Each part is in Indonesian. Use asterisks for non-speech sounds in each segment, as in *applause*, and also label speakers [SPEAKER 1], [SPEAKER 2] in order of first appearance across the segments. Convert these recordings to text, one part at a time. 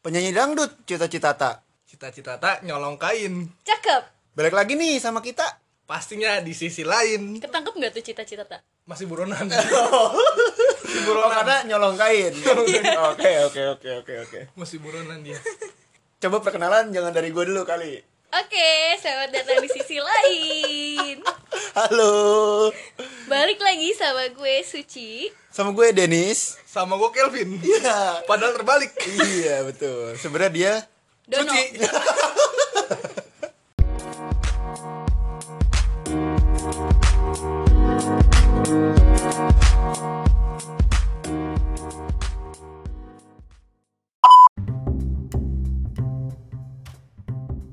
[SPEAKER 1] penyanyi dangdut cita-cita tak.
[SPEAKER 2] Cita-cita tak nyolong kain.
[SPEAKER 3] Cakep.
[SPEAKER 1] Balik lagi nih sama kita.
[SPEAKER 2] Pastinya di sisi lain
[SPEAKER 3] Ketangkep nggak tuh cita-cita tak?
[SPEAKER 2] masih
[SPEAKER 1] *laughs*
[SPEAKER 2] buronan. masih
[SPEAKER 1] Oh,
[SPEAKER 2] buronan.
[SPEAKER 1] karena nyolong kain. *laughs* Oke, oke, oke, oke, oke.
[SPEAKER 2] Masih buronan dia.
[SPEAKER 1] Coba perkenalan jangan dari gue dulu kali.
[SPEAKER 3] Oke, selamat datang di sisi lain.
[SPEAKER 1] Halo.
[SPEAKER 3] Balik lagi sama gue Suci.
[SPEAKER 1] Sama gue Denis.
[SPEAKER 2] Sama gue Kelvin.
[SPEAKER 1] Iya.
[SPEAKER 2] Padahal terbalik.
[SPEAKER 1] iya, betul. Sebenarnya dia Iya,
[SPEAKER 3] Dono.
[SPEAKER 2] Suci.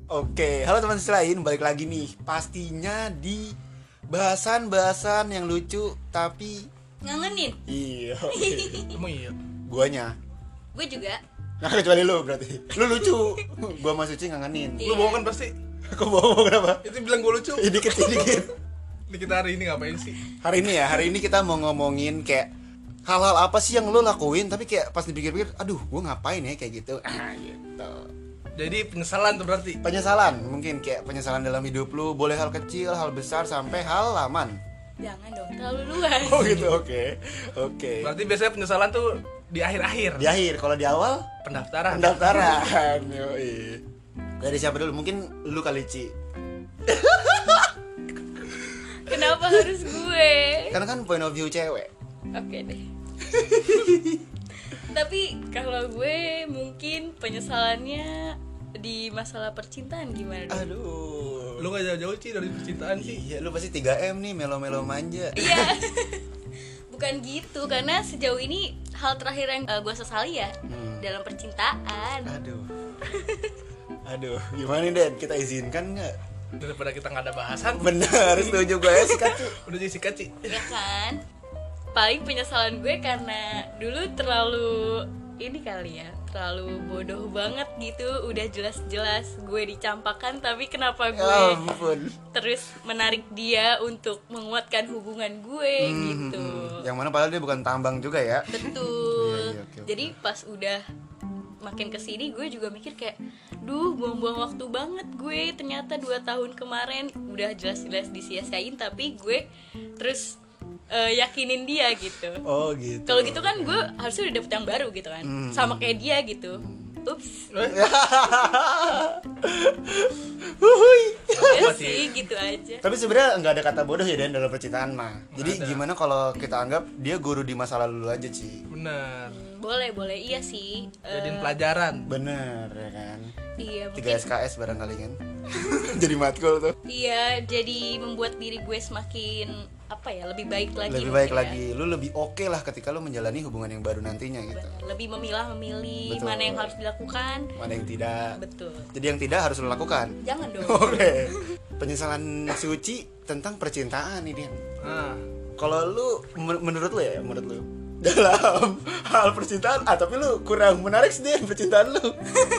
[SPEAKER 1] Oke, halo teman selain balik lagi nih. Pastinya di bahasan-bahasan yang lucu tapi
[SPEAKER 3] Ngangenin.
[SPEAKER 1] iya. oke.
[SPEAKER 2] Emang iya.
[SPEAKER 1] *laughs* Guanya.
[SPEAKER 3] Gue juga.
[SPEAKER 1] Nah, kecuali lu berarti. Lu lucu. Gua sama Suci ngangenin.
[SPEAKER 2] Lu bohong kan pasti.
[SPEAKER 1] Kok bohong kenapa?
[SPEAKER 2] Itu bilang gue lucu.
[SPEAKER 1] Ih, Iya, dikit, ih,
[SPEAKER 2] *laughs*
[SPEAKER 1] dikit.
[SPEAKER 2] Ini kita hari ini ngapain sih?
[SPEAKER 1] Hari ini ya, hari ini kita mau ngomongin kayak hal-hal apa sih yang lu lakuin tapi kayak pas dipikir-pikir, aduh, gua ngapain ya kayak gitu. Ah, gitu.
[SPEAKER 2] Jadi penyesalan tuh berarti.
[SPEAKER 1] Penyesalan, mungkin kayak penyesalan dalam hidup lu, boleh hal kecil, hal besar sampai hal laman. *laughs*
[SPEAKER 3] Jangan dong, terlalu luas.
[SPEAKER 1] Oh gitu, oke. Oke.
[SPEAKER 2] Berarti biasanya penyesalan tuh di akhir-akhir
[SPEAKER 1] Di akhir, kalau di awal
[SPEAKER 2] pendaftaran.
[SPEAKER 1] pendaftaran. Yoi. Dari siapa dulu? Mungkin lu kali Ci.
[SPEAKER 3] Kenapa harus gue?
[SPEAKER 1] Karena kan point of view cewek.
[SPEAKER 3] Oke
[SPEAKER 1] *laughs*
[SPEAKER 3] deh. Tapi kalau gue mungkin penyesalannya di masalah percintaan gimana dong?
[SPEAKER 1] Aduh.
[SPEAKER 2] Lu gak jauh-jauh sih dari percintaan sih.
[SPEAKER 1] Iya, lu pasti 3M nih, melo-melo manja.
[SPEAKER 3] Iya. Bukan gitu karena sejauh ini hal terakhir yang gue sesali ya
[SPEAKER 1] Hmm.
[SPEAKER 3] dalam percintaan.
[SPEAKER 1] *laughs* Aduh. Aduh, gimana nih Den? Kita izinkan nggak?
[SPEAKER 2] Daripada kita nggak ada bahasan,
[SPEAKER 1] Bener, setuju gue ya *laughs* sikat Ci.
[SPEAKER 2] udah jadi sikat sih.
[SPEAKER 3] Ya kan? Paling penyesalan gue karena dulu terlalu ini kali ya, terlalu bodoh banget gitu. Udah jelas-jelas gue dicampakan tapi kenapa
[SPEAKER 1] Ya
[SPEAKER 3] gue
[SPEAKER 1] ampun.
[SPEAKER 3] terus menarik dia untuk menguatkan hubungan gue gitu.
[SPEAKER 1] Hmm, Yang mana padahal dia bukan tambang juga ya. Iya,
[SPEAKER 3] Betul.
[SPEAKER 1] iya, oke, oke.
[SPEAKER 3] Jadi pas udah makin kesini gue juga mikir kayak, duh buang-buang waktu banget gue. Ternyata dua tahun kemarin udah jelas-jelas disia-siain tapi gue terus eh, yakinin dia gitu.
[SPEAKER 1] Oh gitu. *laughs*
[SPEAKER 3] Kalau gitu kan gue harusnya udah dapet yang baru gitu kan,
[SPEAKER 1] Hmm.
[SPEAKER 3] sama kayak dia gitu. Ups,
[SPEAKER 1] Iya Huhuy.
[SPEAKER 3] ya sih gitu aja.
[SPEAKER 1] Tapi sebenarnya nggak ada kata bodoh ya Den dalam percintaan mah. Jadi
[SPEAKER 2] ada.
[SPEAKER 1] gimana kalau kita anggap dia guru di masa lalu lu aja Ci?
[SPEAKER 2] Bener.
[SPEAKER 3] Boleh boleh iya sih. Eh,
[SPEAKER 2] Jadiin pelajaran.
[SPEAKER 1] Bener ya kan.
[SPEAKER 3] iya
[SPEAKER 1] 3
[SPEAKER 3] mungkin
[SPEAKER 1] SKS barangkali kan. *laughs* Jadi matkul tuh.
[SPEAKER 3] Iya, jadi membuat diri gue semakin apa ya lebih baik lagi.
[SPEAKER 1] Lebih baik
[SPEAKER 3] mungkin ya.
[SPEAKER 1] lagi. Lu lebih oke lah ketika lu menjalani hubungan yang baru nantinya gitu.
[SPEAKER 3] Benar. Lebih memilah memilih
[SPEAKER 1] Betul.
[SPEAKER 3] mana yang harus dilakukan.
[SPEAKER 1] Mana yang tidak.
[SPEAKER 3] Betul.
[SPEAKER 1] Jadi yang tidak harus lo lakukan.
[SPEAKER 3] Jangan dong.
[SPEAKER 1] Oh. Oke. Penyesalan suci tentang percintaan ini. Dian.
[SPEAKER 2] Ah,
[SPEAKER 1] Kalau lu men- menurut lu ya, menurut lu dalam hal percintaan, ah tapi lu kurang menarik sih Dian, percintaan lu.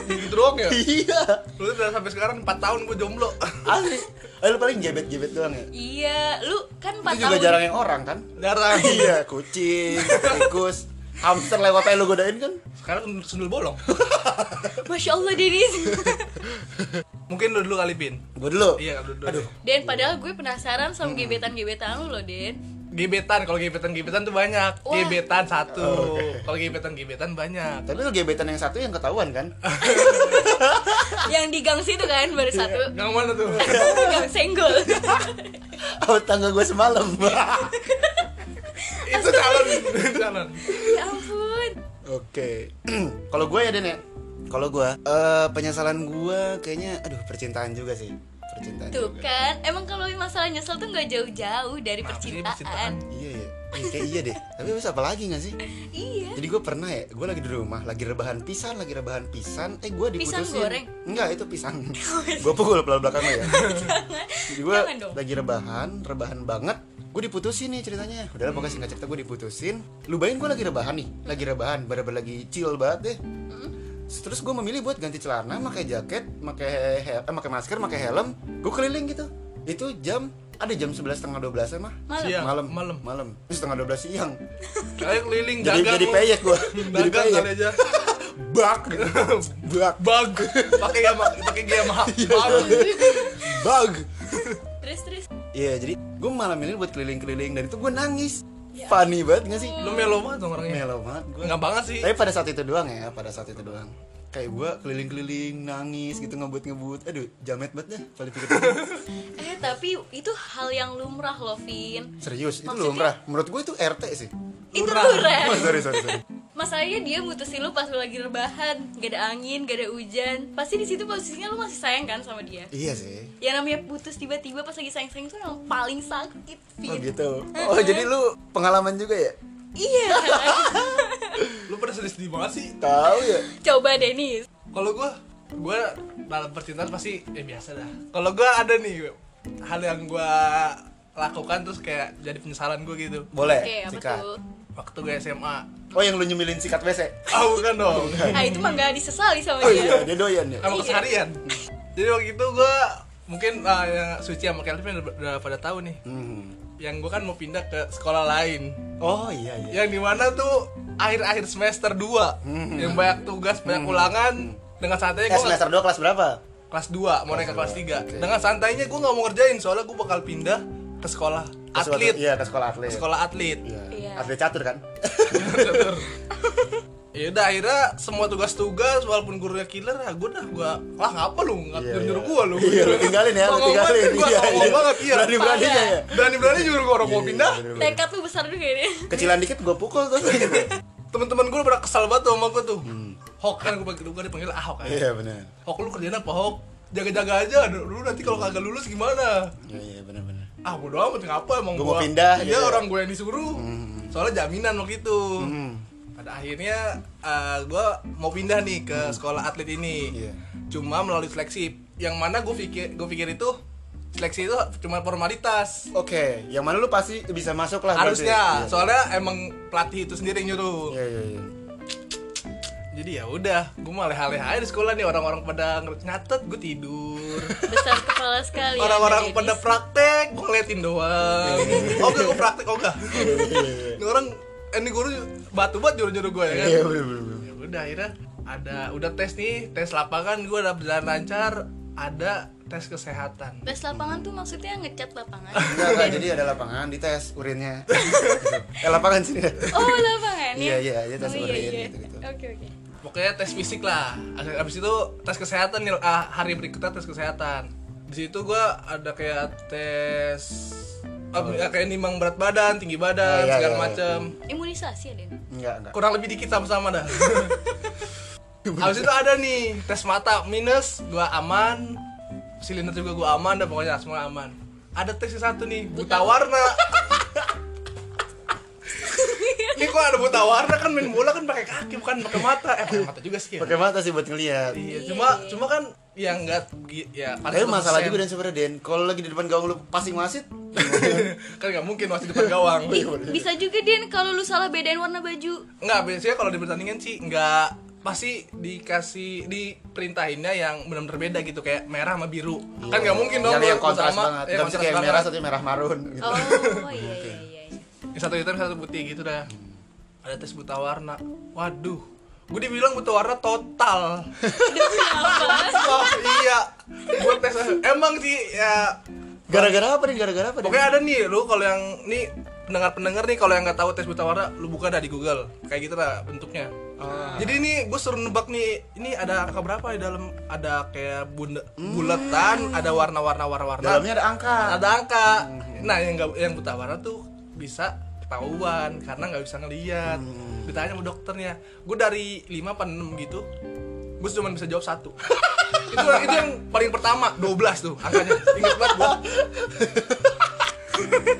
[SPEAKER 2] gitu doang ya?
[SPEAKER 1] iya.
[SPEAKER 2] Lu udah sampai sekarang 4 tahun gue jomblo. *laughs*
[SPEAKER 1] Asli. Eh, lu paling gebet-gebet doang ya.
[SPEAKER 3] Iya, lu kan 4
[SPEAKER 1] Itu juga
[SPEAKER 3] tahun.
[SPEAKER 1] jarang yang orang kan?
[SPEAKER 2] Jarang.
[SPEAKER 1] iya, kucing, tikus, hamster lewat aja lu godain kan?
[SPEAKER 2] Sekarang sundul- sundul bolong.
[SPEAKER 3] Masya Allah *laughs* Denis.
[SPEAKER 2] Mungkin lu dulu kali pin.
[SPEAKER 1] Gua dulu.
[SPEAKER 2] Iya, lu dulu.
[SPEAKER 1] Aduh.
[SPEAKER 3] Den, padahal gue penasaran sama gebetan-gebetan lu loh, Den.
[SPEAKER 2] Gebetan, kalau gebetan-gebetan tuh banyak.
[SPEAKER 3] Wah.
[SPEAKER 2] Gebetan satu.
[SPEAKER 1] Oh, oke.
[SPEAKER 2] Kalau gebetan-gebetan banyak.
[SPEAKER 1] Tapi lu gebetan yang satu yang ketahuan kan?
[SPEAKER 3] Yang di gang situ kan baru satu.
[SPEAKER 2] Yang mana tuh?
[SPEAKER 3] Di gang senggol.
[SPEAKER 1] Oh, tangga gue semalam.
[SPEAKER 2] *laughs*
[SPEAKER 1] *laughs*
[SPEAKER 2] itu calon, itu calon.
[SPEAKER 3] ya ampun.
[SPEAKER 1] Oke. *clears throat* Kalau gue ya Den ya. Kalau gue, eh penyesalan gue kayaknya, aduh percintaan juga sih. Percintaan.
[SPEAKER 3] Tuh
[SPEAKER 1] juga.
[SPEAKER 3] kan, emang kalau masalah nyesel tuh nggak jauh-jauh dari
[SPEAKER 2] Maaf, ini
[SPEAKER 3] percintaan.
[SPEAKER 1] Iya ya. Eh, kayak iya deh. Tapi habis apa lagi gak sih?
[SPEAKER 3] Iya.
[SPEAKER 1] Jadi gue pernah ya, gue lagi di rumah, lagi rebahan pisan, lagi rebahan pisan. Eh gue diputusin.
[SPEAKER 3] Pisang goreng? Oh, iya.
[SPEAKER 1] Enggak, itu
[SPEAKER 3] *laughs*
[SPEAKER 1] pisang. gue pukul pelan belakang lo ya. Jadi gue
[SPEAKER 3] Jangan dong.
[SPEAKER 1] lagi rebahan, rebahan banget. Gue diputusin nih ceritanya. Udah lah pokoknya singkat cerita gue diputusin. Lu bayangin gue lagi rebahan nih, lagi rebahan, bener-bener lagi chill banget deh. Terus gue memilih buat ganti celana, pakai jaket, pakai he- eh, pakai masker, pakai helm. Gue keliling gitu. Itu jam ada jam sebelas setengah dua belas mah
[SPEAKER 3] Malam.
[SPEAKER 2] Siang,
[SPEAKER 1] malam
[SPEAKER 2] malam.
[SPEAKER 1] malam setengah dua belas siang
[SPEAKER 2] Kalian keliling
[SPEAKER 1] jadi
[SPEAKER 2] dagang.
[SPEAKER 1] jadi *laughs*
[SPEAKER 2] lu.
[SPEAKER 1] peyek gue jadi
[SPEAKER 2] *laughs* Dagang
[SPEAKER 1] peyek
[SPEAKER 2] kali aja.
[SPEAKER 1] bak gitu. bak
[SPEAKER 2] Bug. Pakai Yamaha, pakai *laughs* Yamaha. Bug.
[SPEAKER 1] bug
[SPEAKER 3] terus terus
[SPEAKER 1] iya jadi gue malam ini buat keliling-keliling dan itu gue nangis
[SPEAKER 3] Iya.
[SPEAKER 1] funny banget gak sih
[SPEAKER 2] Lu melo banget dong orangnya.
[SPEAKER 1] melo banget gue
[SPEAKER 2] Enggak banget sih.
[SPEAKER 1] tapi pada saat itu doang ya pada saat itu doang kayak gue keliling-keliling nangis gitu ngebut-ngebut aduh jamet banget dah paling pikir
[SPEAKER 3] eh tapi itu hal yang lumrah loh Vin
[SPEAKER 1] *laughs* serius itu
[SPEAKER 3] Maksudnya-
[SPEAKER 1] lumrah menurut gue itu RT sih
[SPEAKER 3] itu
[SPEAKER 2] Lumrah.
[SPEAKER 3] lumrah
[SPEAKER 1] oh, sorry sorry sorry
[SPEAKER 3] masalahnya dia mutusin lu pas lu lagi rebahan gak ada angin gak ada hujan pasti di situ posisinya lu masih sayang kan sama dia
[SPEAKER 1] iya sih
[SPEAKER 3] yang namanya putus tiba-tiba pas lagi sayang-sayang itu yang paling sakit
[SPEAKER 1] Oh
[SPEAKER 3] Vin
[SPEAKER 1] gitu. Oh jadi lu pengalaman juga ya?
[SPEAKER 3] iya *laughs*
[SPEAKER 2] Lu pernah sedih-sedih banget sih.
[SPEAKER 1] Tahu ya?
[SPEAKER 3] coba Denis
[SPEAKER 2] Kalau gua gua dalam percintaan pasti eh biasa dah. Kalau gua ada nih hal yang gua lakukan terus kayak jadi penyesalan gua gitu.
[SPEAKER 1] Boleh.
[SPEAKER 3] Oke, apa
[SPEAKER 1] sikat.
[SPEAKER 3] tuh?
[SPEAKER 2] Waktu gua SMA.
[SPEAKER 1] Oh yang lu nyemilin sikat WC?
[SPEAKER 2] Ah, bukan dong.
[SPEAKER 3] Ah, itu mah gak disesali sama
[SPEAKER 1] Oh iya,
[SPEAKER 3] dia.
[SPEAKER 1] dia doyan ya.
[SPEAKER 2] Emang
[SPEAKER 3] Iya.
[SPEAKER 2] keseharian. Jadi waktu itu gua mungkin ah, ya, Suci sama Kelvin udah, udah pada tahu nih.
[SPEAKER 1] Hmm.
[SPEAKER 2] Yang gua kan mau pindah ke sekolah lain.
[SPEAKER 1] Oh iya iya.
[SPEAKER 2] Yang dimana tuh akhir-akhir semester 2 Yang banyak tugas, banyak ulangan Dengan santainya
[SPEAKER 1] Eh,
[SPEAKER 2] gue
[SPEAKER 1] semester 2 kelas berapa?
[SPEAKER 2] kelas 2 mau naik ke kelas 3 Dengan santainya gue nggak mau ngerjain soalnya gue bakal pindah ke sekolah
[SPEAKER 1] Ke suatu-
[SPEAKER 2] atlet
[SPEAKER 1] Iya, ke sekolah atlet.
[SPEAKER 2] Ke sekolah atlet
[SPEAKER 1] Iya.
[SPEAKER 3] Iya.
[SPEAKER 1] Atlet catur kan?
[SPEAKER 2] ya udah akhirnya semua tugas-tugas walaupun gurunya killer ya gue dah gue lah ngapa lu nggak
[SPEAKER 1] Iya,
[SPEAKER 2] nyuruh nyuruh
[SPEAKER 1] iya.
[SPEAKER 2] gue lu
[SPEAKER 1] Iya, lu tinggalin ya, lu
[SPEAKER 2] Songong
[SPEAKER 1] tinggalin.
[SPEAKER 2] banget, gua
[SPEAKER 1] Iya,
[SPEAKER 2] songong
[SPEAKER 1] iya.
[SPEAKER 2] banget iya
[SPEAKER 1] Berani-beraninya ya.
[SPEAKER 2] berani-berani juga gue orang mau
[SPEAKER 1] Iya,
[SPEAKER 2] pindah
[SPEAKER 1] bener-bener.
[SPEAKER 3] Tekad lu besar juga ini.
[SPEAKER 1] Kecilan dikit gua pukul tuh. iya.
[SPEAKER 2] teman-teman gue pada kesal banget tuh sama gue tuh hok kan gue panggil gue dipanggil ahok kan
[SPEAKER 1] Hmm. Iya benar.
[SPEAKER 2] Hok lu kerjaan apa Hok? Jaga-jaga aja, aduh, lu nanti kalau kagak lulus gimana?
[SPEAKER 1] Iya iya benar-benar.
[SPEAKER 2] Ah bodo amat, ngapa emang
[SPEAKER 1] Gua mau pindah,
[SPEAKER 2] Iya
[SPEAKER 1] gitu. Hmm.
[SPEAKER 2] orang gue yang disuruh Soalnya jaminan waktu itu Pada akhirnya eh, gua gue mau pindah nih ke sekolah atlet ini
[SPEAKER 1] Hmm. Iya.
[SPEAKER 2] Cuma melalui seleksi Yang mana gue pikir, gue pikir itu Seleksi itu cuma formalitas
[SPEAKER 1] Oke, yang mana lu pasti bisa masuk lah berarti.
[SPEAKER 2] Harusnya,
[SPEAKER 1] Iya.
[SPEAKER 2] soalnya emang pelatih itu sendiri yang nyuruh
[SPEAKER 1] Iya iya iya.
[SPEAKER 2] Jadi ya udah, gue malah leh aja di sekolah nih orang-orang pada nyatet, gue tidur
[SPEAKER 3] Besar kepala sekali. ya,
[SPEAKER 2] orang-orang
[SPEAKER 3] Denis.
[SPEAKER 2] pada praktek gue ngeliatin
[SPEAKER 1] Iya,
[SPEAKER 2] doang oh enggak gue praktek oh enggak ini orang eh, ini guru batu banget nyuruh-nyuruh gue ya kan
[SPEAKER 1] Iya benar-benar.
[SPEAKER 2] ya udah akhirnya ada udah tes nih tes lapangan gue udah berjalan lancar ada tes kesehatan
[SPEAKER 3] Tes lapangan tuh maksudnya ngecat lapangan.
[SPEAKER 1] Enggak, enggak, jadi ada lapangan dites *laughs* urinnya. Gitu. eh lapangan sini deh.
[SPEAKER 3] *laughs* Oh, lapangan ya.
[SPEAKER 1] Iya, iya, iya, tes
[SPEAKER 3] Oh,
[SPEAKER 1] urin, gitu-gitu.
[SPEAKER 3] Oke, oke.
[SPEAKER 2] pokoknya tes fisik lah Abis- abis itu tes kesehatan nih ah, hari berikutnya tes kesehatan di situ gue ada kayak tes ah, kayak nimbang berat badan tinggi
[SPEAKER 1] iya. Oh,
[SPEAKER 2] badan
[SPEAKER 1] iya, iya,
[SPEAKER 2] segala
[SPEAKER 1] iya.
[SPEAKER 2] macem
[SPEAKER 3] Imunisasi ya, Den.
[SPEAKER 1] Enggak, enggak.
[SPEAKER 2] kurang lebih dikit sama-sama dah *laughs* Habis itu ada nih tes mata minus gua aman, silinder juga gua aman dan pokoknya semua aman. Ada tes yang satu nih, buta warna. Ini kok ada buta warna kan main bola kan pakai kaki bukan pakai mata. Eh pakai mata juga sih ya.
[SPEAKER 1] Pakai mata sih buat ngelihat.
[SPEAKER 2] Iya, cuma cuma kan ya enggak ya
[SPEAKER 1] Tapi masalah
[SPEAKER 2] persen.
[SPEAKER 1] juga dan sebenarnya Den, kalau lagi di depan gaung lu pasing wasit,
[SPEAKER 2] *laughs* kan nggak mungkin masih depan gawang.
[SPEAKER 1] Iya,
[SPEAKER 3] Bisa juga, Den, kalau lu salah bedain warna baju.
[SPEAKER 2] Enggak, biasanya kalau di pertandingan sih enggak pasti dikasih diperintahinnya yang benar-benar beda gitu kayak merah sama biru. Kan nggak mungkin
[SPEAKER 1] Iya.
[SPEAKER 2] dong
[SPEAKER 1] yang, yang
[SPEAKER 2] gua
[SPEAKER 1] kontras
[SPEAKER 2] sama-
[SPEAKER 1] banget.
[SPEAKER 2] yang
[SPEAKER 1] Enggak bisa
[SPEAKER 2] kontras
[SPEAKER 1] kayak
[SPEAKER 2] banget.
[SPEAKER 1] merah satu merah marun gitu.
[SPEAKER 3] Oh, iya, iya, iya.
[SPEAKER 2] Yang satu hitam satu putih gitu dah. Ada tes buta warna. Waduh. Gue dibilang buta warna total.
[SPEAKER 3] Demi apa?
[SPEAKER 2] Wah, iya. Gue tes emang sih ya
[SPEAKER 1] Gara-gara apa nih? Gara-gara apa? Den?
[SPEAKER 2] Pokoknya ada nih lu kalau yang nih pendengar-pendengar nih kalau yang nggak tahu tes buta warna lu buka dah di Google. Kayak gitu lah bentuknya. Jadi ini gue suruh nebak nih, ini ada angka berapa di dalam? Ada kayak bunda, buletan, ada warna-warna warna-warna.
[SPEAKER 1] Dalamnya ada angka.
[SPEAKER 2] Ada angka. Nah, yang nggak- yang buta warna tuh bisa ketahuan karena nggak bisa ngelihat.
[SPEAKER 1] Hmm.
[SPEAKER 2] Ditanya sama dokternya, gue dari 5 apa 6 gitu. Gue cuma bisa jawab satu. *laughs* itu, itu yang paling pertama, 12 tuh angkanya. Ingat banget gue. *laughs*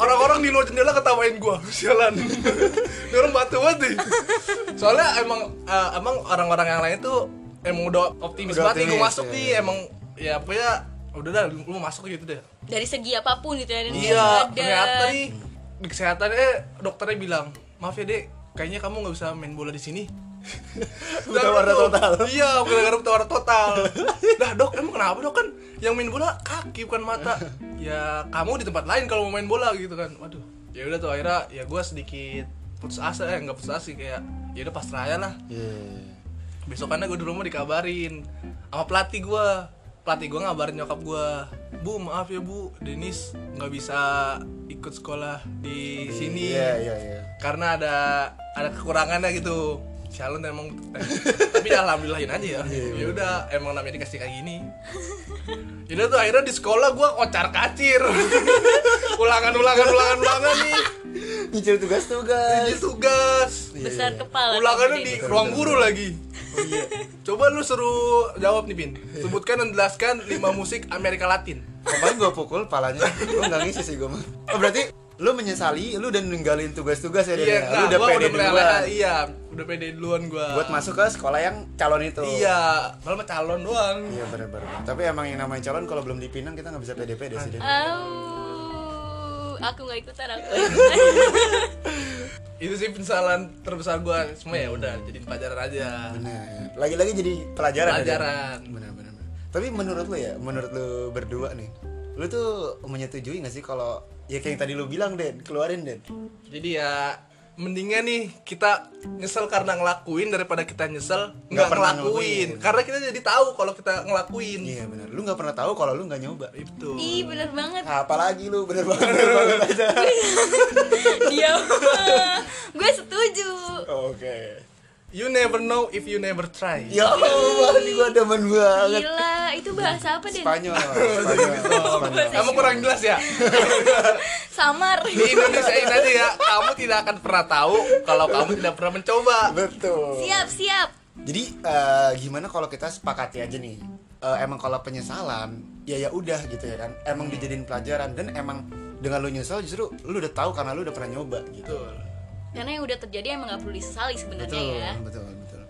[SPEAKER 2] Orang-orang di luar jendela ketawain gue, sialan. Ini orang batu banget nih. Soalnya emang eh, emang orang-orang yang lain tuh emang udah optimis
[SPEAKER 1] Udah
[SPEAKER 2] banget gue
[SPEAKER 1] optimis,
[SPEAKER 2] masuk
[SPEAKER 1] iya.
[SPEAKER 2] nih emang ya pokoknya udah dah lu lu masuk gitu deh
[SPEAKER 3] Dari segi apapun gitu ya, Den.
[SPEAKER 2] Iya,
[SPEAKER 3] Badan.
[SPEAKER 2] ternyata nih di kesehatannya dokternya bilang, maaf ya dek, kayaknya kamu nggak bisa main bola di sini.
[SPEAKER 1] Buta
[SPEAKER 2] Dan
[SPEAKER 1] warna
[SPEAKER 2] tuh,
[SPEAKER 1] total.
[SPEAKER 2] Iya, gara-gara buta warna total. Dah dok, emang kenapa dok kan yang main bola kaki bukan mata. Ya kamu di tempat lain kalau mau main bola gitu kan. Waduh. Ya udah tuh akhirnya ya gue sedikit putus asa eh nggak putus asa sih kayak ya udah pasrah aja lah.
[SPEAKER 1] Iya.
[SPEAKER 2] besokannya gue di rumah dikabarin sama pelatih gue pelatih gue ngabarin nyokap gue bu maaf ya bu Denis nggak bisa ikut sekolah di sini
[SPEAKER 1] Iya iya iya.
[SPEAKER 2] karena ada ada kekurangannya gitu calon emang tapi alhamdulillahin
[SPEAKER 1] Iya,
[SPEAKER 2] aja ya ya udah emang namanya dikasih kayak gini Yaudah tuh akhirnya di sekolah gue kocar kacir *laughs* ulangan ulangan ulangan ulangan nih
[SPEAKER 1] Nyicil tugas-tugas.
[SPEAKER 2] jadi tugas
[SPEAKER 3] besar kepala
[SPEAKER 2] ulangannya kan
[SPEAKER 3] kamu,
[SPEAKER 2] di
[SPEAKER 3] Dennis.
[SPEAKER 2] ruang guru lagi
[SPEAKER 1] Iya.
[SPEAKER 2] coba lu suruh jawab nih pin sebutkan dan jelaskan lima musik Amerika Latin
[SPEAKER 1] Pokoknya gue pukul palanya. Gue nggak ngisi sih gue mah. Oh berarti lu menyesali lu udah ninggalin tugas-tugas ya
[SPEAKER 2] iya
[SPEAKER 1] Daniel?
[SPEAKER 2] nah,
[SPEAKER 1] lu udah
[SPEAKER 2] gua
[SPEAKER 1] pede
[SPEAKER 2] udah
[SPEAKER 1] duluan
[SPEAKER 2] meleleh iya udah pede duluan gue
[SPEAKER 1] buat masuk ke sekolah yang calon itu.
[SPEAKER 2] iya malah mah calon doang
[SPEAKER 1] Iya benar-benar. Tapi emang yang namanya calon kalau belum dipinang kita nggak bisa PDP deh sih. Dan.
[SPEAKER 3] Au, aku nggak ikutan aku nggak ikutan.
[SPEAKER 2] itu sih penyesalan terbesar gua semua ya udah jadi pelajaran aja
[SPEAKER 1] Benar. Lagi-lagi jadi pelajaran. ya, Dan?
[SPEAKER 2] pelajaran
[SPEAKER 1] Benar-benar. Tapi menurut lu ya, menurut lu berdua nih, lu tuh menyetujui gak sih kalau ya kayak yang tadi lu bilang Den, keluarin Den.
[SPEAKER 2] jadi ya mendingan nih kita nyesel karena ngelakuin daripada kita nyesel
[SPEAKER 1] Nggak
[SPEAKER 2] nggak
[SPEAKER 1] pernah
[SPEAKER 2] ngelakuin
[SPEAKER 1] ngelakuin.
[SPEAKER 2] karena kita jadi tahu kalau kita ngelakuin
[SPEAKER 1] Iya benar. Lu nggak pernah tahu kalau lu nggak nyoba.
[SPEAKER 2] itu
[SPEAKER 3] Ih bener banget
[SPEAKER 1] Apalagi lu bener banget. *laughs* bener banget aja.
[SPEAKER 3] Dia Gue setuju
[SPEAKER 1] Oke.
[SPEAKER 2] you never know if you never try
[SPEAKER 1] Ya Allah, ini gua demen banget.
[SPEAKER 3] Gila itu bahasa apa deh
[SPEAKER 1] Spanyol, Spanyol, Spanyol.
[SPEAKER 2] kamu kurang jelas ya
[SPEAKER 3] Samar
[SPEAKER 2] di Indonesia ini aja ya kamu tidak akan pernah tahu kalau kamu tidak pernah mencoba
[SPEAKER 1] Betul.
[SPEAKER 3] Siap siap
[SPEAKER 1] Jadi eh, gimana kalau kita sepakati aja nih? Eh, emang kalau penyesalan ya ya udah gitu ya kan. Emang dijadiin pelajaran dan emang dengan lu nyesel justru lu udah tahu karena lu udah pernah nyoba gitu.
[SPEAKER 2] betul
[SPEAKER 3] Karena yang udah terjadi emang nggak perlu disesali sebenarnya
[SPEAKER 1] Betul,
[SPEAKER 3] ya
[SPEAKER 1] betul, betul.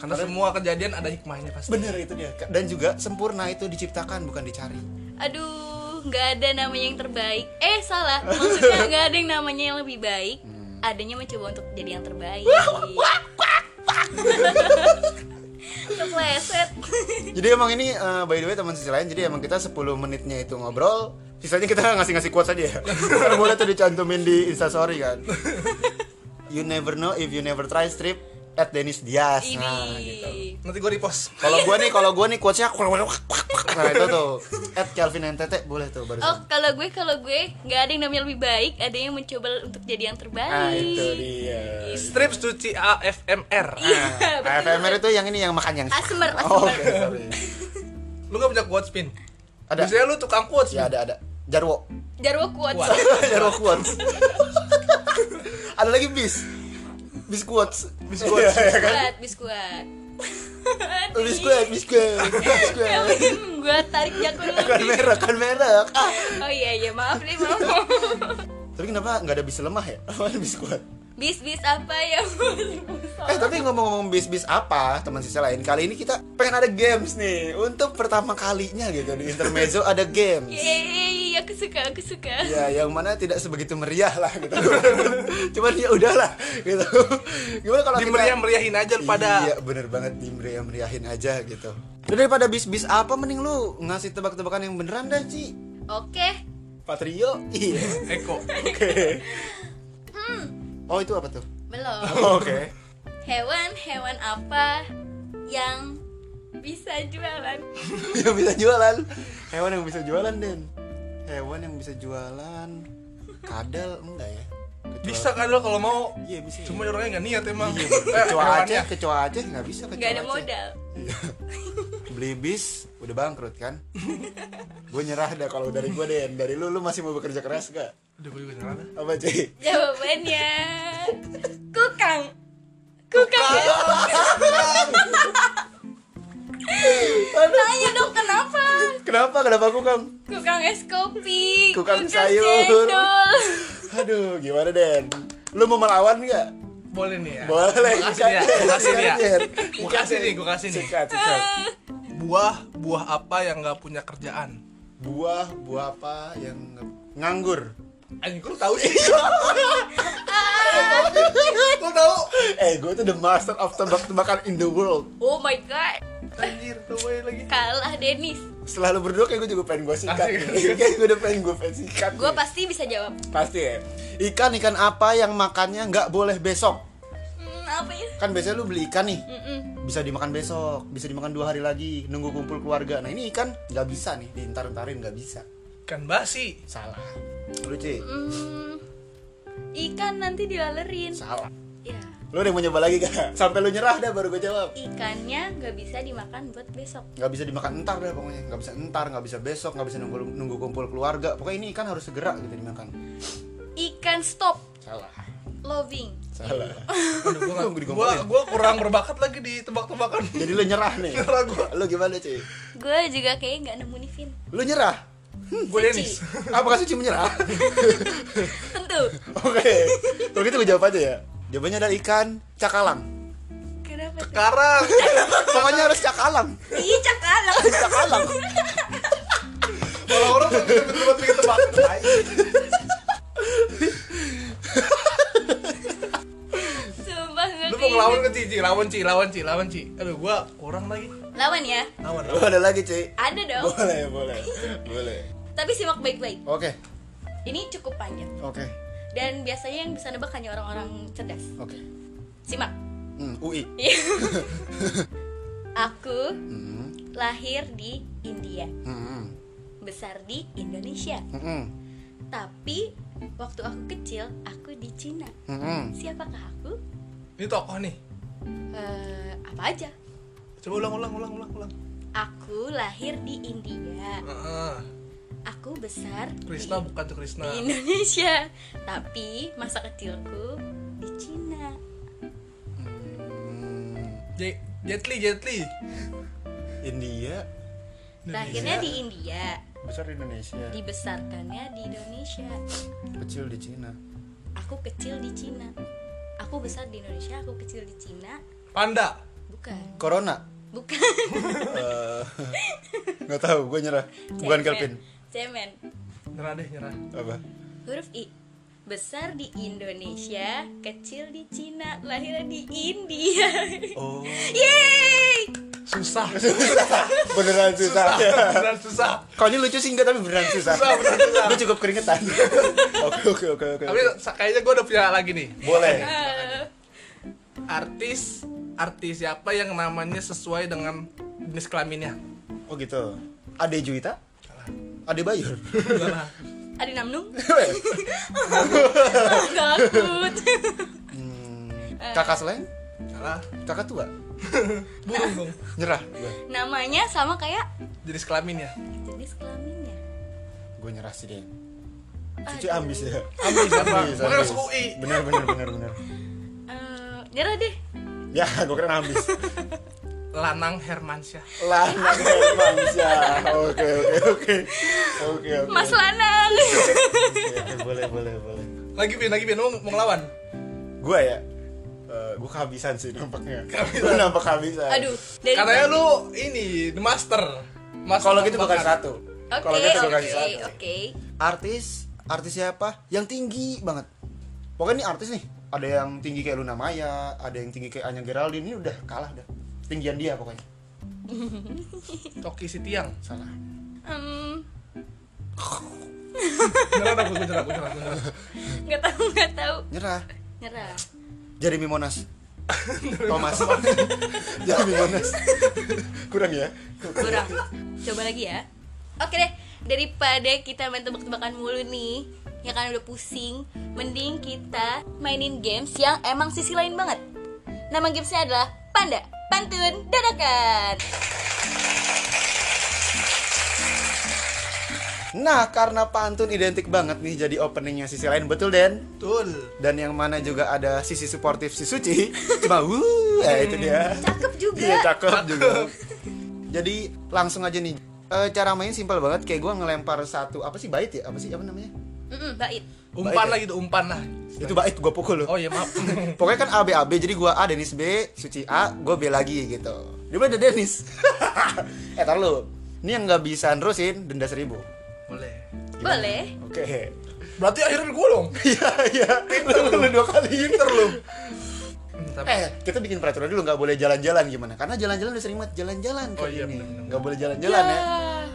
[SPEAKER 2] karena semua kejadian ada hikmahnya pasti
[SPEAKER 1] Bener itu dia. Dan juga sempurna itu diciptakan bukan dicari.
[SPEAKER 3] Aduh nggak ada namanya yang terbaik Eh salah Maksudnya nggak ada yang namanya yang lebih baik
[SPEAKER 1] Hmm.
[SPEAKER 3] Adanya mencoba untuk jadi yang terbaik *laughs* Kepleset
[SPEAKER 1] Jadi emang ini eh, by the way teman sisi lain jadi emang kita 10 menitnya itu ngobrol, sisanya kita ngasih-ngasih quotes aja ya. Kan boleh tuh dicantumin di Instastory kan. You never know if you never try strip at Dennis Dias. Nah, gitu.
[SPEAKER 3] Ini
[SPEAKER 2] nanti gua repost
[SPEAKER 1] Kalau gua nih, kalau gua nih quotesnya Nah itu tuh At Calvin NTT boleh tuh
[SPEAKER 3] Oh,
[SPEAKER 1] barusan
[SPEAKER 3] kalau gue kalau gue nggak ada yang namanya lebih baik, ada yang mencoba untuk jadi yang terbaik.
[SPEAKER 1] Nah itu dia
[SPEAKER 2] strips to CAFMR
[SPEAKER 3] Iya,
[SPEAKER 1] Nah,
[SPEAKER 3] *laughs* betul.
[SPEAKER 1] FMR itu yang ini yang makan yang
[SPEAKER 3] Asmer, asmer.
[SPEAKER 1] Oh, Oke, sorry
[SPEAKER 2] lu gak punya quotes pin
[SPEAKER 1] Ada.
[SPEAKER 2] biasanya lu tukang quotes
[SPEAKER 1] Ya ada, ada Jarwo *laughs*
[SPEAKER 3] Jarwo kuat.
[SPEAKER 2] Kuat.
[SPEAKER 1] Jarwo quotes Ada lagi bis Bis quotes
[SPEAKER 2] Bis quotes.
[SPEAKER 1] *laughs* Iya, iya kan?
[SPEAKER 3] Kuat, biskuat.
[SPEAKER 1] Bis quotes, bis quotes Bis
[SPEAKER 3] *laughs* Iya,
[SPEAKER 1] quotes
[SPEAKER 3] Kelvin, gue Ya, tarik jakun lu.
[SPEAKER 1] Kan merah, kan merah Ah,
[SPEAKER 3] Oh iya iya, maaf nih, maaf.
[SPEAKER 1] Tapi kenapa nggak ada bis lemah ya? *laughs* Apaan bis quotes?
[SPEAKER 3] Bis bis apa ya? *laughs*
[SPEAKER 1] Eh tapi ngomong-ngomong bis-bis apa teman sisa lain Kali ini kita pengen ada games nih Untuk pertama kalinya gitu Di Intermezzo ada
[SPEAKER 3] Iya,
[SPEAKER 1] games
[SPEAKER 3] Yeay, aku suka, aku suka.
[SPEAKER 1] Ya yang mana tidak sebegitu meriah lah gitu *laughs* Cuman ya udahlah gitu Gimana kalau
[SPEAKER 2] di
[SPEAKER 1] kita-
[SPEAKER 2] meriah meriahin aja pada
[SPEAKER 1] Iya bener banget di meriah meriahin aja gitu Dan Daripada bis-bis apa mending lu ngasih tebak-tebakan yang beneran dah Ci
[SPEAKER 3] Oke.
[SPEAKER 1] Patrio Iya
[SPEAKER 2] Eko
[SPEAKER 1] Oke Oh itu apa tuh?
[SPEAKER 3] Belum.
[SPEAKER 1] *laughs* Oke
[SPEAKER 3] Hewan-hewan apa yang bisa jualan?
[SPEAKER 1] *laughs* yang bisa jualan hewan yang bisa jualan den hewan yang bisa jualan kadal enggak ya Kecoa-
[SPEAKER 2] bisa kan lo kalau mau
[SPEAKER 1] iya bisa ya.
[SPEAKER 2] cuma orangnya nggak niat emang
[SPEAKER 1] iya,
[SPEAKER 2] Eh,
[SPEAKER 1] kecoa
[SPEAKER 2] hewannya.
[SPEAKER 1] Aceh kecoa Aceh nggak bisa kecoa
[SPEAKER 3] Gak ada
[SPEAKER 1] Aceh.
[SPEAKER 3] modal.
[SPEAKER 1] Iya. beli bis udah bangkrut kan gue nyerah dah kalau dari gue den dari lu lu masih mau bekerja keras gak
[SPEAKER 2] Udah beli beneran dah.
[SPEAKER 1] apa cuy *laughs*
[SPEAKER 3] Jawabannya kukang. Kukang. Tanya dong kenapa?
[SPEAKER 1] kenapa kenapa aku kang
[SPEAKER 3] Kukang es kopi,
[SPEAKER 1] Kukang sayur.
[SPEAKER 3] cendol.
[SPEAKER 1] aduh gimana den lu mau melawan nggak
[SPEAKER 2] boleh nih ya
[SPEAKER 1] boleh
[SPEAKER 2] Gua kasih nih ya gua kasih nih ya
[SPEAKER 1] Den.
[SPEAKER 2] Gua kasih nih gua kasih nih
[SPEAKER 1] sikat sikat
[SPEAKER 2] buah buah apa yang nggak punya kerjaan
[SPEAKER 1] buah buah apa yang nganggur
[SPEAKER 2] anjing lu tahu sih
[SPEAKER 1] Iya.
[SPEAKER 2] *laughs* lu tahu
[SPEAKER 1] eh gue tuh the master of tebak-tebakan in the world
[SPEAKER 3] Oh my god,
[SPEAKER 2] anjir tahu aja lagi
[SPEAKER 3] kalah Denis.
[SPEAKER 1] selalu berdua kayak gue juga pengen gue sikat
[SPEAKER 2] Asik.
[SPEAKER 1] *laughs* kayak gue udah pengen gue pengen sikat
[SPEAKER 3] Gue
[SPEAKER 1] nih.
[SPEAKER 3] pasti bisa jawab.
[SPEAKER 1] pasti ya ikan ikan apa yang makannya nggak boleh besok
[SPEAKER 3] Hmm, apa ya?
[SPEAKER 1] kan biasanya lu beli ikan nih
[SPEAKER 3] Mm-mm.
[SPEAKER 1] bisa dimakan besok bisa dimakan dua hari lagi nunggu kumpul keluarga nah ini ikan nggak bisa nih diintar intarin nggak bisa
[SPEAKER 2] Ikan basi.
[SPEAKER 1] salah lu Ci?
[SPEAKER 3] Hmm, ikan nanti dilalerin
[SPEAKER 1] salah
[SPEAKER 3] ya
[SPEAKER 1] lu udah mau nyoba lagi gak *laughs* sampai lu nyerah dah baru gue jawab
[SPEAKER 3] ikannya nggak bisa dimakan buat besok
[SPEAKER 1] nggak bisa dimakan entar dah pokoknya nggak bisa entar nggak bisa besok nggak bisa nunggu nunggu kumpul keluarga pokoknya ini ikan harus segera gitu dimakan
[SPEAKER 3] ikan stop
[SPEAKER 1] salah
[SPEAKER 3] loving
[SPEAKER 1] salah
[SPEAKER 2] Aduh, gua,
[SPEAKER 1] Gua
[SPEAKER 2] gak, gua,
[SPEAKER 1] digombalin.
[SPEAKER 2] gua kurang berbakat lagi di tebak-tebakan.
[SPEAKER 1] jadi lu nyerah nih
[SPEAKER 2] Nyerah gua.
[SPEAKER 1] lu gimana Ci?
[SPEAKER 3] gue juga kayak nggak nemu nih Vin
[SPEAKER 1] lu nyerah
[SPEAKER 2] Gua
[SPEAKER 3] Suci.
[SPEAKER 2] Denis.
[SPEAKER 1] apakah Suci menyerah
[SPEAKER 3] tentu
[SPEAKER 1] *laughs* oke kalau gitu gue jawab aja ya jawabannya adalah ikan cakalang
[SPEAKER 3] kenapa tuh
[SPEAKER 2] Sekarang
[SPEAKER 1] pokoknya harus cakalang
[SPEAKER 3] iya cakalang
[SPEAKER 1] cakalang
[SPEAKER 2] kalau orang betul-betul bikin tebakan. tai.
[SPEAKER 3] sumpah gitu.
[SPEAKER 2] Lu
[SPEAKER 3] gue
[SPEAKER 2] mau ngelawan ke Cici, lawan Ci, lawan Ci, lawan Ci. Aduh, gua kurang lagi.
[SPEAKER 3] lawan ya
[SPEAKER 2] Lawan.
[SPEAKER 1] lu ada lagi Ci?
[SPEAKER 3] ada dong
[SPEAKER 1] boleh boleh boleh
[SPEAKER 3] tapi simak baik-baik
[SPEAKER 1] oke
[SPEAKER 3] ini cukup panjang
[SPEAKER 1] oke
[SPEAKER 3] dan biasanya yang bisa nebak hanya orang-orang cerdas
[SPEAKER 1] oke
[SPEAKER 3] simak
[SPEAKER 1] Hmm, UI
[SPEAKER 3] aku
[SPEAKER 1] Hmm,
[SPEAKER 3] lahir di India
[SPEAKER 1] hmm, hmm,
[SPEAKER 3] besar di Indonesia
[SPEAKER 1] hmm, hmm,
[SPEAKER 3] tapi waktu aku kecil aku di Cina
[SPEAKER 1] hmm, hmm.
[SPEAKER 3] siapakah aku
[SPEAKER 2] Ini tokoh nih.
[SPEAKER 3] Eh, apa aja
[SPEAKER 2] Coba ulang ulang ulang ulang ulang.
[SPEAKER 3] aku lahir di India
[SPEAKER 2] Heeh.
[SPEAKER 3] aku besar
[SPEAKER 2] Krishna
[SPEAKER 3] di,
[SPEAKER 2] bukan tuh Krishna.
[SPEAKER 3] di Indonesia *laughs* tapi masa kecilku di Cina
[SPEAKER 2] J- Jet Li, Jet Li.
[SPEAKER 1] India
[SPEAKER 3] lahirnya Nah, di India
[SPEAKER 1] besar di Indonesia
[SPEAKER 3] dibesarkannya di Indonesia
[SPEAKER 1] kecil di Cina
[SPEAKER 3] aku kecil di Cina aku besar di Indonesia aku kecil di Cina
[SPEAKER 2] Panda.
[SPEAKER 3] bukan
[SPEAKER 1] Corona
[SPEAKER 3] bukan
[SPEAKER 1] Eh, nggak tahu gue nyerah *laughs* bukan
[SPEAKER 3] Cemen.
[SPEAKER 1] Kelvin
[SPEAKER 3] cemen
[SPEAKER 2] Nyerah deh, nyerah.
[SPEAKER 1] apa *laughs*
[SPEAKER 3] Huruf I Besar di Indonesia, kecil di Cina, lahir di India
[SPEAKER 1] oh
[SPEAKER 3] *laughs* Yeay!
[SPEAKER 2] Susah.
[SPEAKER 1] beneran susah,
[SPEAKER 2] Beneran susah.
[SPEAKER 1] Kalau ini lucu sih enggak tapi
[SPEAKER 2] *laughs*
[SPEAKER 1] beneran susah.
[SPEAKER 2] Susah, beneran susah.
[SPEAKER 1] Gue cukup
[SPEAKER 2] *laughs*
[SPEAKER 1] keringetan. Oke oke oke oke.
[SPEAKER 2] Tapi sa- kayaknya gue udah punya lagi nih.
[SPEAKER 1] Boleh.
[SPEAKER 3] Eh,
[SPEAKER 2] Artis, artis siapa yang namanya sesuai dengan jenis kelaminnya?
[SPEAKER 1] Oh gitu. Ade Juwita?
[SPEAKER 2] Salah.
[SPEAKER 1] Ade
[SPEAKER 2] *laughs*
[SPEAKER 1] Bayur?
[SPEAKER 2] Salah.
[SPEAKER 3] Adi Namnung *laughs* Takut
[SPEAKER 1] Hmm, kakak selain?
[SPEAKER 2] Salah.
[SPEAKER 1] Kakak tua?
[SPEAKER 2] Burung *laughs* dong.
[SPEAKER 1] Nyerah. Gue
[SPEAKER 3] *laughs* Namanya sama kayak
[SPEAKER 2] Jenis kelaminnya.
[SPEAKER 3] jenis kelaminnya
[SPEAKER 1] Gue nyerah sih deh. Cucu ambis ya.
[SPEAKER 2] Ambil siapa?
[SPEAKER 1] Ambis,
[SPEAKER 2] Makanya
[SPEAKER 1] ambis.
[SPEAKER 2] masuk UI.
[SPEAKER 1] Bener bener bener bener.
[SPEAKER 3] Eh, Nyerah deh
[SPEAKER 1] Ya gue keren
[SPEAKER 2] *laughs*
[SPEAKER 1] ambis.
[SPEAKER 2] Lanang Hermansyah.
[SPEAKER 1] Lanang Hermansyah. Oke oke oke. Oke oke.
[SPEAKER 3] Mas *laughs* Lanang
[SPEAKER 1] Ya, Boleh boleh boleh.
[SPEAKER 2] Lagi pin, lagi pin. Lu mau ngelawan?
[SPEAKER 1] Gue ya. eh, gue kehabisan sih nampaknya. Gue nampak kehabisan.
[SPEAKER 3] Aduh dari
[SPEAKER 2] Katanya lu ini the master.
[SPEAKER 1] Iya.
[SPEAKER 2] Master
[SPEAKER 1] Kalau gitu gue
[SPEAKER 2] bakar.
[SPEAKER 1] kasih satu.
[SPEAKER 3] Oke,
[SPEAKER 1] Kalau gitu gue kasih
[SPEAKER 3] oke,
[SPEAKER 1] satu.
[SPEAKER 3] oke
[SPEAKER 1] Artis, artis siapa? Yang tinggi banget. Pokoknya ini artis nih. Ada yang tinggi kayak Luna Maya, ada yang tinggi kayak Anya Geraldine ini udah kalah dah. Tinggian dia pokoknya.
[SPEAKER 2] Coki Sitiang.
[SPEAKER 1] Salah.
[SPEAKER 3] Hmm,
[SPEAKER 2] Nyerah dah, gue nyerah, gue nyerah, gue nyerah.
[SPEAKER 3] Nggak tahu, nggak tahu
[SPEAKER 1] Nyerah.
[SPEAKER 3] Nyerah
[SPEAKER 1] Jeremy Monas. Thomas. Jeremy Monas. Kurang ya?
[SPEAKER 3] Kurang Coba lagi ya Oke deh Daripada kita main tebak-tebakan mulu nih Ya kan udah pusing Mending kita mainin games yang emang sisi lain banget Nama gamesnya adalah Panda Pantun Dadakan
[SPEAKER 1] Nah, karena pantun identik banget nih jadi openingnya sisi lain, betul Den?
[SPEAKER 2] Betul.
[SPEAKER 1] dan yang mana juga ada sisi suportif si *laughs* Suci cuma wuh ya itu dia
[SPEAKER 3] Cakep juga
[SPEAKER 1] iya cakep juga jadi langsung aja nih Eh, cara main simpel banget kayak gua ngelempar satu apa sih bait ya apa sih apa namanya
[SPEAKER 3] Mm-mm, Bait
[SPEAKER 2] Umpan
[SPEAKER 1] Baik,
[SPEAKER 2] lah gitu, umpan lah.
[SPEAKER 1] itu bait gua pukul loh
[SPEAKER 2] Oh ya maaf.
[SPEAKER 1] pokoknya kan A B A B jadi gua A Denis B Suci A gua B lagi gitu dia udah ada Denis *laughs* eh tar lu ini yang nggak bisa nerusin denda seribu
[SPEAKER 2] *laughs* Boleh.
[SPEAKER 3] Boleh
[SPEAKER 1] oke *laughs*
[SPEAKER 2] Berarti akhirnya gue dong.
[SPEAKER 1] iya iya lu, lu dua kali inter lu
[SPEAKER 2] Hmm, *laughs* Tapi
[SPEAKER 1] Eh, kita bikin peraturan dulu nggak boleh jalan-jalan gimana? Karena jalan-jalan udah sering banget jalan-jalan
[SPEAKER 2] Oh
[SPEAKER 1] kali
[SPEAKER 2] iya,
[SPEAKER 1] ini.
[SPEAKER 2] bener-bener.
[SPEAKER 1] Nggak boleh jalan-jalan ya.
[SPEAKER 3] Yah.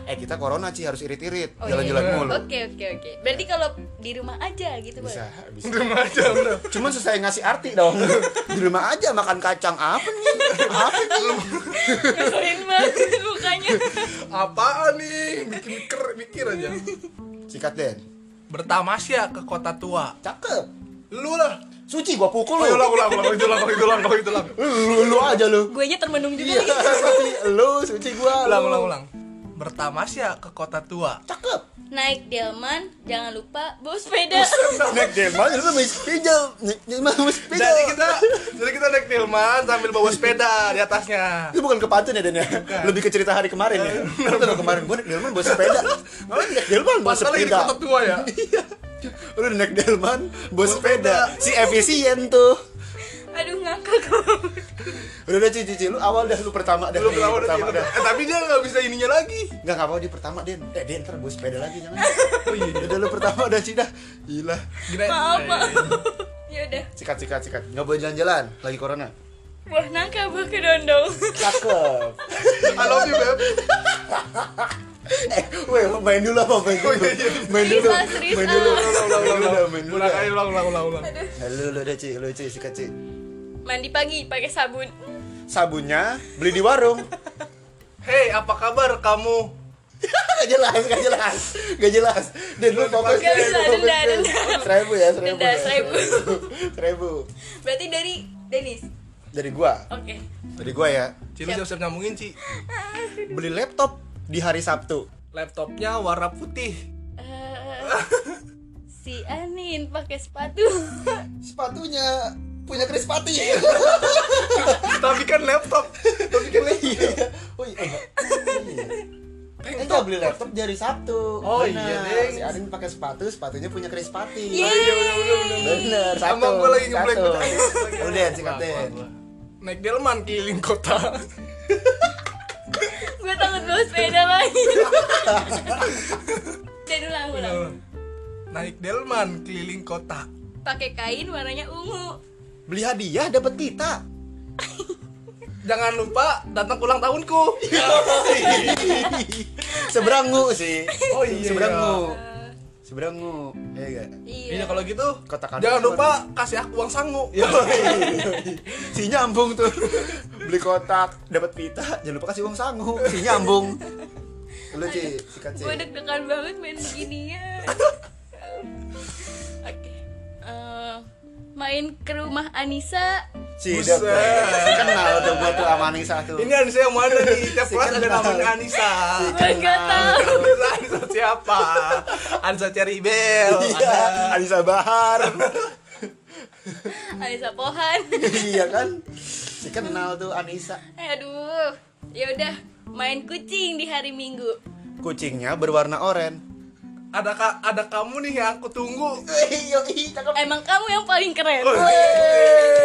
[SPEAKER 1] eh kita corona sih harus irit-irit
[SPEAKER 3] Oh, iya.
[SPEAKER 1] jalan-jalan mulu
[SPEAKER 3] Oke oke oke. Berarti kalau di rumah aja gitu
[SPEAKER 1] bisa
[SPEAKER 3] *laughs* Bang?
[SPEAKER 1] bisa
[SPEAKER 2] Terima aja bro
[SPEAKER 1] cuman susah ngasih arti dong *laughs* di rumah aja makan kacang apa nih apa nih
[SPEAKER 3] Ngeselin Ya, banget *laughs* mukanya.
[SPEAKER 2] Apaan nih? Bikin ker, mikir aja
[SPEAKER 1] sikat den
[SPEAKER 2] Bertamasya ke kota tua
[SPEAKER 1] cakep
[SPEAKER 2] Lu lah
[SPEAKER 1] suci gua pukul
[SPEAKER 2] Oh,
[SPEAKER 1] lu
[SPEAKER 2] ulang, ulang, ulang, ulang, ulang, ulang, ulang, ulang
[SPEAKER 1] lu, lu aja lu
[SPEAKER 3] Guenya termenung juga
[SPEAKER 1] iya
[SPEAKER 3] lagi.
[SPEAKER 1] suci lu suci gua lu.
[SPEAKER 2] Ulang, ulang, ulang Bertamasya ke kota tua
[SPEAKER 1] cakep
[SPEAKER 3] Naik delman, jangan lupa bawa sepeda.
[SPEAKER 1] naik delman lu mis pinjam naik mis pinjam
[SPEAKER 2] Jadi kita jadi kita naik Tilman sambil bawa sepeda di atasnya
[SPEAKER 1] itu bukan ke pantun ya Den ya? Lebih ke cerita hari kemarin ya. Itu loh kemarin gua naik Delman bawa sepeda. Ngapain naik Delman bawa
[SPEAKER 2] Masalah di
[SPEAKER 1] sepeda?
[SPEAKER 2] kota tua ya
[SPEAKER 1] Lu naik Delman bawa sepeda. Si efisien tuh.
[SPEAKER 3] *laughs* Aduh ngakak *laughs* kok.
[SPEAKER 1] Udah udah cici cici lu awal dah lu pertama dah.
[SPEAKER 2] Belum lama udah
[SPEAKER 1] pertama
[SPEAKER 2] gitu.
[SPEAKER 1] dah.
[SPEAKER 2] Eh, Tapi dia nggak bisa ininya lagi
[SPEAKER 1] Enggak enggak apa-apa di pertama Den. Eh Den ntar bawa sepeda lagi *laughs* jangan.
[SPEAKER 2] Oh iya
[SPEAKER 1] Udah lu pertama udah Cina. Gila.
[SPEAKER 2] Gila
[SPEAKER 3] Maaf
[SPEAKER 1] Iya,
[SPEAKER 3] maaf. *laughs* Ya Yaudah.
[SPEAKER 1] Sikat sikat sikat. Enggak boleh jalan-jalan lagi corona.
[SPEAKER 3] Buah nangka buah kedondong.
[SPEAKER 1] Cakep.
[SPEAKER 2] I love you beb
[SPEAKER 1] *laughs* Eh, weh, main dulu apa main dulu? Main dulu.
[SPEAKER 3] Serius, ah, serius,
[SPEAKER 1] Main dulu.
[SPEAKER 3] ah.
[SPEAKER 2] Ulang, ulang, ulang, ulang.
[SPEAKER 1] Main dulu.
[SPEAKER 2] Ulang, ayo, ulang, ulang, ulang, ulang
[SPEAKER 1] Lu lu udah Ci, lu Ci sikat Ci.
[SPEAKER 3] *laughs* Mandi pagi pakai sabun.
[SPEAKER 1] Sabunnya beli di warung. *laughs*
[SPEAKER 2] Hei, apa kabar kamu?
[SPEAKER 1] gak jelas, gak jelas, gak jelas. Dan lu fokus
[SPEAKER 3] Gak bisa,
[SPEAKER 1] lu fokus,
[SPEAKER 3] denda,
[SPEAKER 1] Den.
[SPEAKER 3] denda.
[SPEAKER 1] Seribu ya, seribu.
[SPEAKER 3] Denda,
[SPEAKER 1] ya,
[SPEAKER 3] seribu.
[SPEAKER 1] *laughs* Seribu.
[SPEAKER 3] Berarti dari Denis.
[SPEAKER 1] Dari gua,
[SPEAKER 3] Oke.
[SPEAKER 1] dari gua ya.
[SPEAKER 2] Cilu
[SPEAKER 3] Siap.
[SPEAKER 2] siap-siap nyambungin, Ci
[SPEAKER 1] Beli laptop di hari Sabtu.
[SPEAKER 2] Laptopnya warna putih
[SPEAKER 1] *laughs*
[SPEAKER 3] Eh, si Anin pakai sepatu. *laughs*
[SPEAKER 1] Sepatunya punya Krispati.
[SPEAKER 2] Tapi kan laptop Tapi kan laptop
[SPEAKER 1] Iya. Oh iya. Enggak beli laptop di hari Sabtu.
[SPEAKER 2] Oh
[SPEAKER 1] Benar.
[SPEAKER 2] iya, Deng.
[SPEAKER 1] Si Arin pakai sepatu, sepatunya punya Krispati.
[SPEAKER 2] Iya,
[SPEAKER 3] Yeay.
[SPEAKER 1] Bener, satu.
[SPEAKER 2] Sama gua lagi ngeblank.
[SPEAKER 1] satu.
[SPEAKER 2] Lagi.
[SPEAKER 1] Udah, sikat
[SPEAKER 2] Wah,
[SPEAKER 1] deh.
[SPEAKER 2] wah, wah. Naik delman keliling kota
[SPEAKER 3] Gue takut bawa sepeda
[SPEAKER 1] *laughs*
[SPEAKER 3] lagi. Dan ulang ulang.
[SPEAKER 2] Naik delman keliling kota
[SPEAKER 3] Pakai kain warnanya ungu.
[SPEAKER 1] Beli hadiah dapat pita. *laughs*
[SPEAKER 2] Jangan lupa datang ulang tahunku
[SPEAKER 1] Seberangu sih.
[SPEAKER 2] Oh iya.
[SPEAKER 1] Seberangu. Seberangu. Uh. Iya enggak?
[SPEAKER 2] Iya
[SPEAKER 3] Iya.
[SPEAKER 2] kalau gitu
[SPEAKER 1] Kota-kata
[SPEAKER 2] Jangan
[SPEAKER 1] cuma-
[SPEAKER 2] lupa kasih aku uang sangu
[SPEAKER 1] Yoi. *laughs* si nyambung tuh beli kotak dapat pita jangan lupa kasih uang sangu si nyambung lu Ci, sikat Ci.
[SPEAKER 3] Gue deg-degan banget main beginian. Oke. Eh, main ke rumah Anissa.
[SPEAKER 1] si
[SPEAKER 2] Buset.
[SPEAKER 1] dok kenal tuh gua tuh sama Anissa tuh
[SPEAKER 2] Ini Anissa yang mana nih? Tiap
[SPEAKER 1] Si
[SPEAKER 2] kelas ada
[SPEAKER 1] kenal.
[SPEAKER 2] namanya Anissa
[SPEAKER 3] Gue gak tahu.
[SPEAKER 2] Anissa Anissa siapa? Anissa Ceribel
[SPEAKER 1] iya Anissa Bahar
[SPEAKER 3] Anissa Pohan.
[SPEAKER 1] iya kan si kenal tuh Anissa
[SPEAKER 3] Eh, Aduh, ya udah main kucing di hari Minggu.
[SPEAKER 1] kucingnya berwarna oren
[SPEAKER 2] ada ka- ada kamu nih yang aku tunggu.
[SPEAKER 1] Eh, Yoi, cakep
[SPEAKER 3] Oh,
[SPEAKER 1] iya.
[SPEAKER 3] Emang kamu yang paling keren.
[SPEAKER 2] Wih.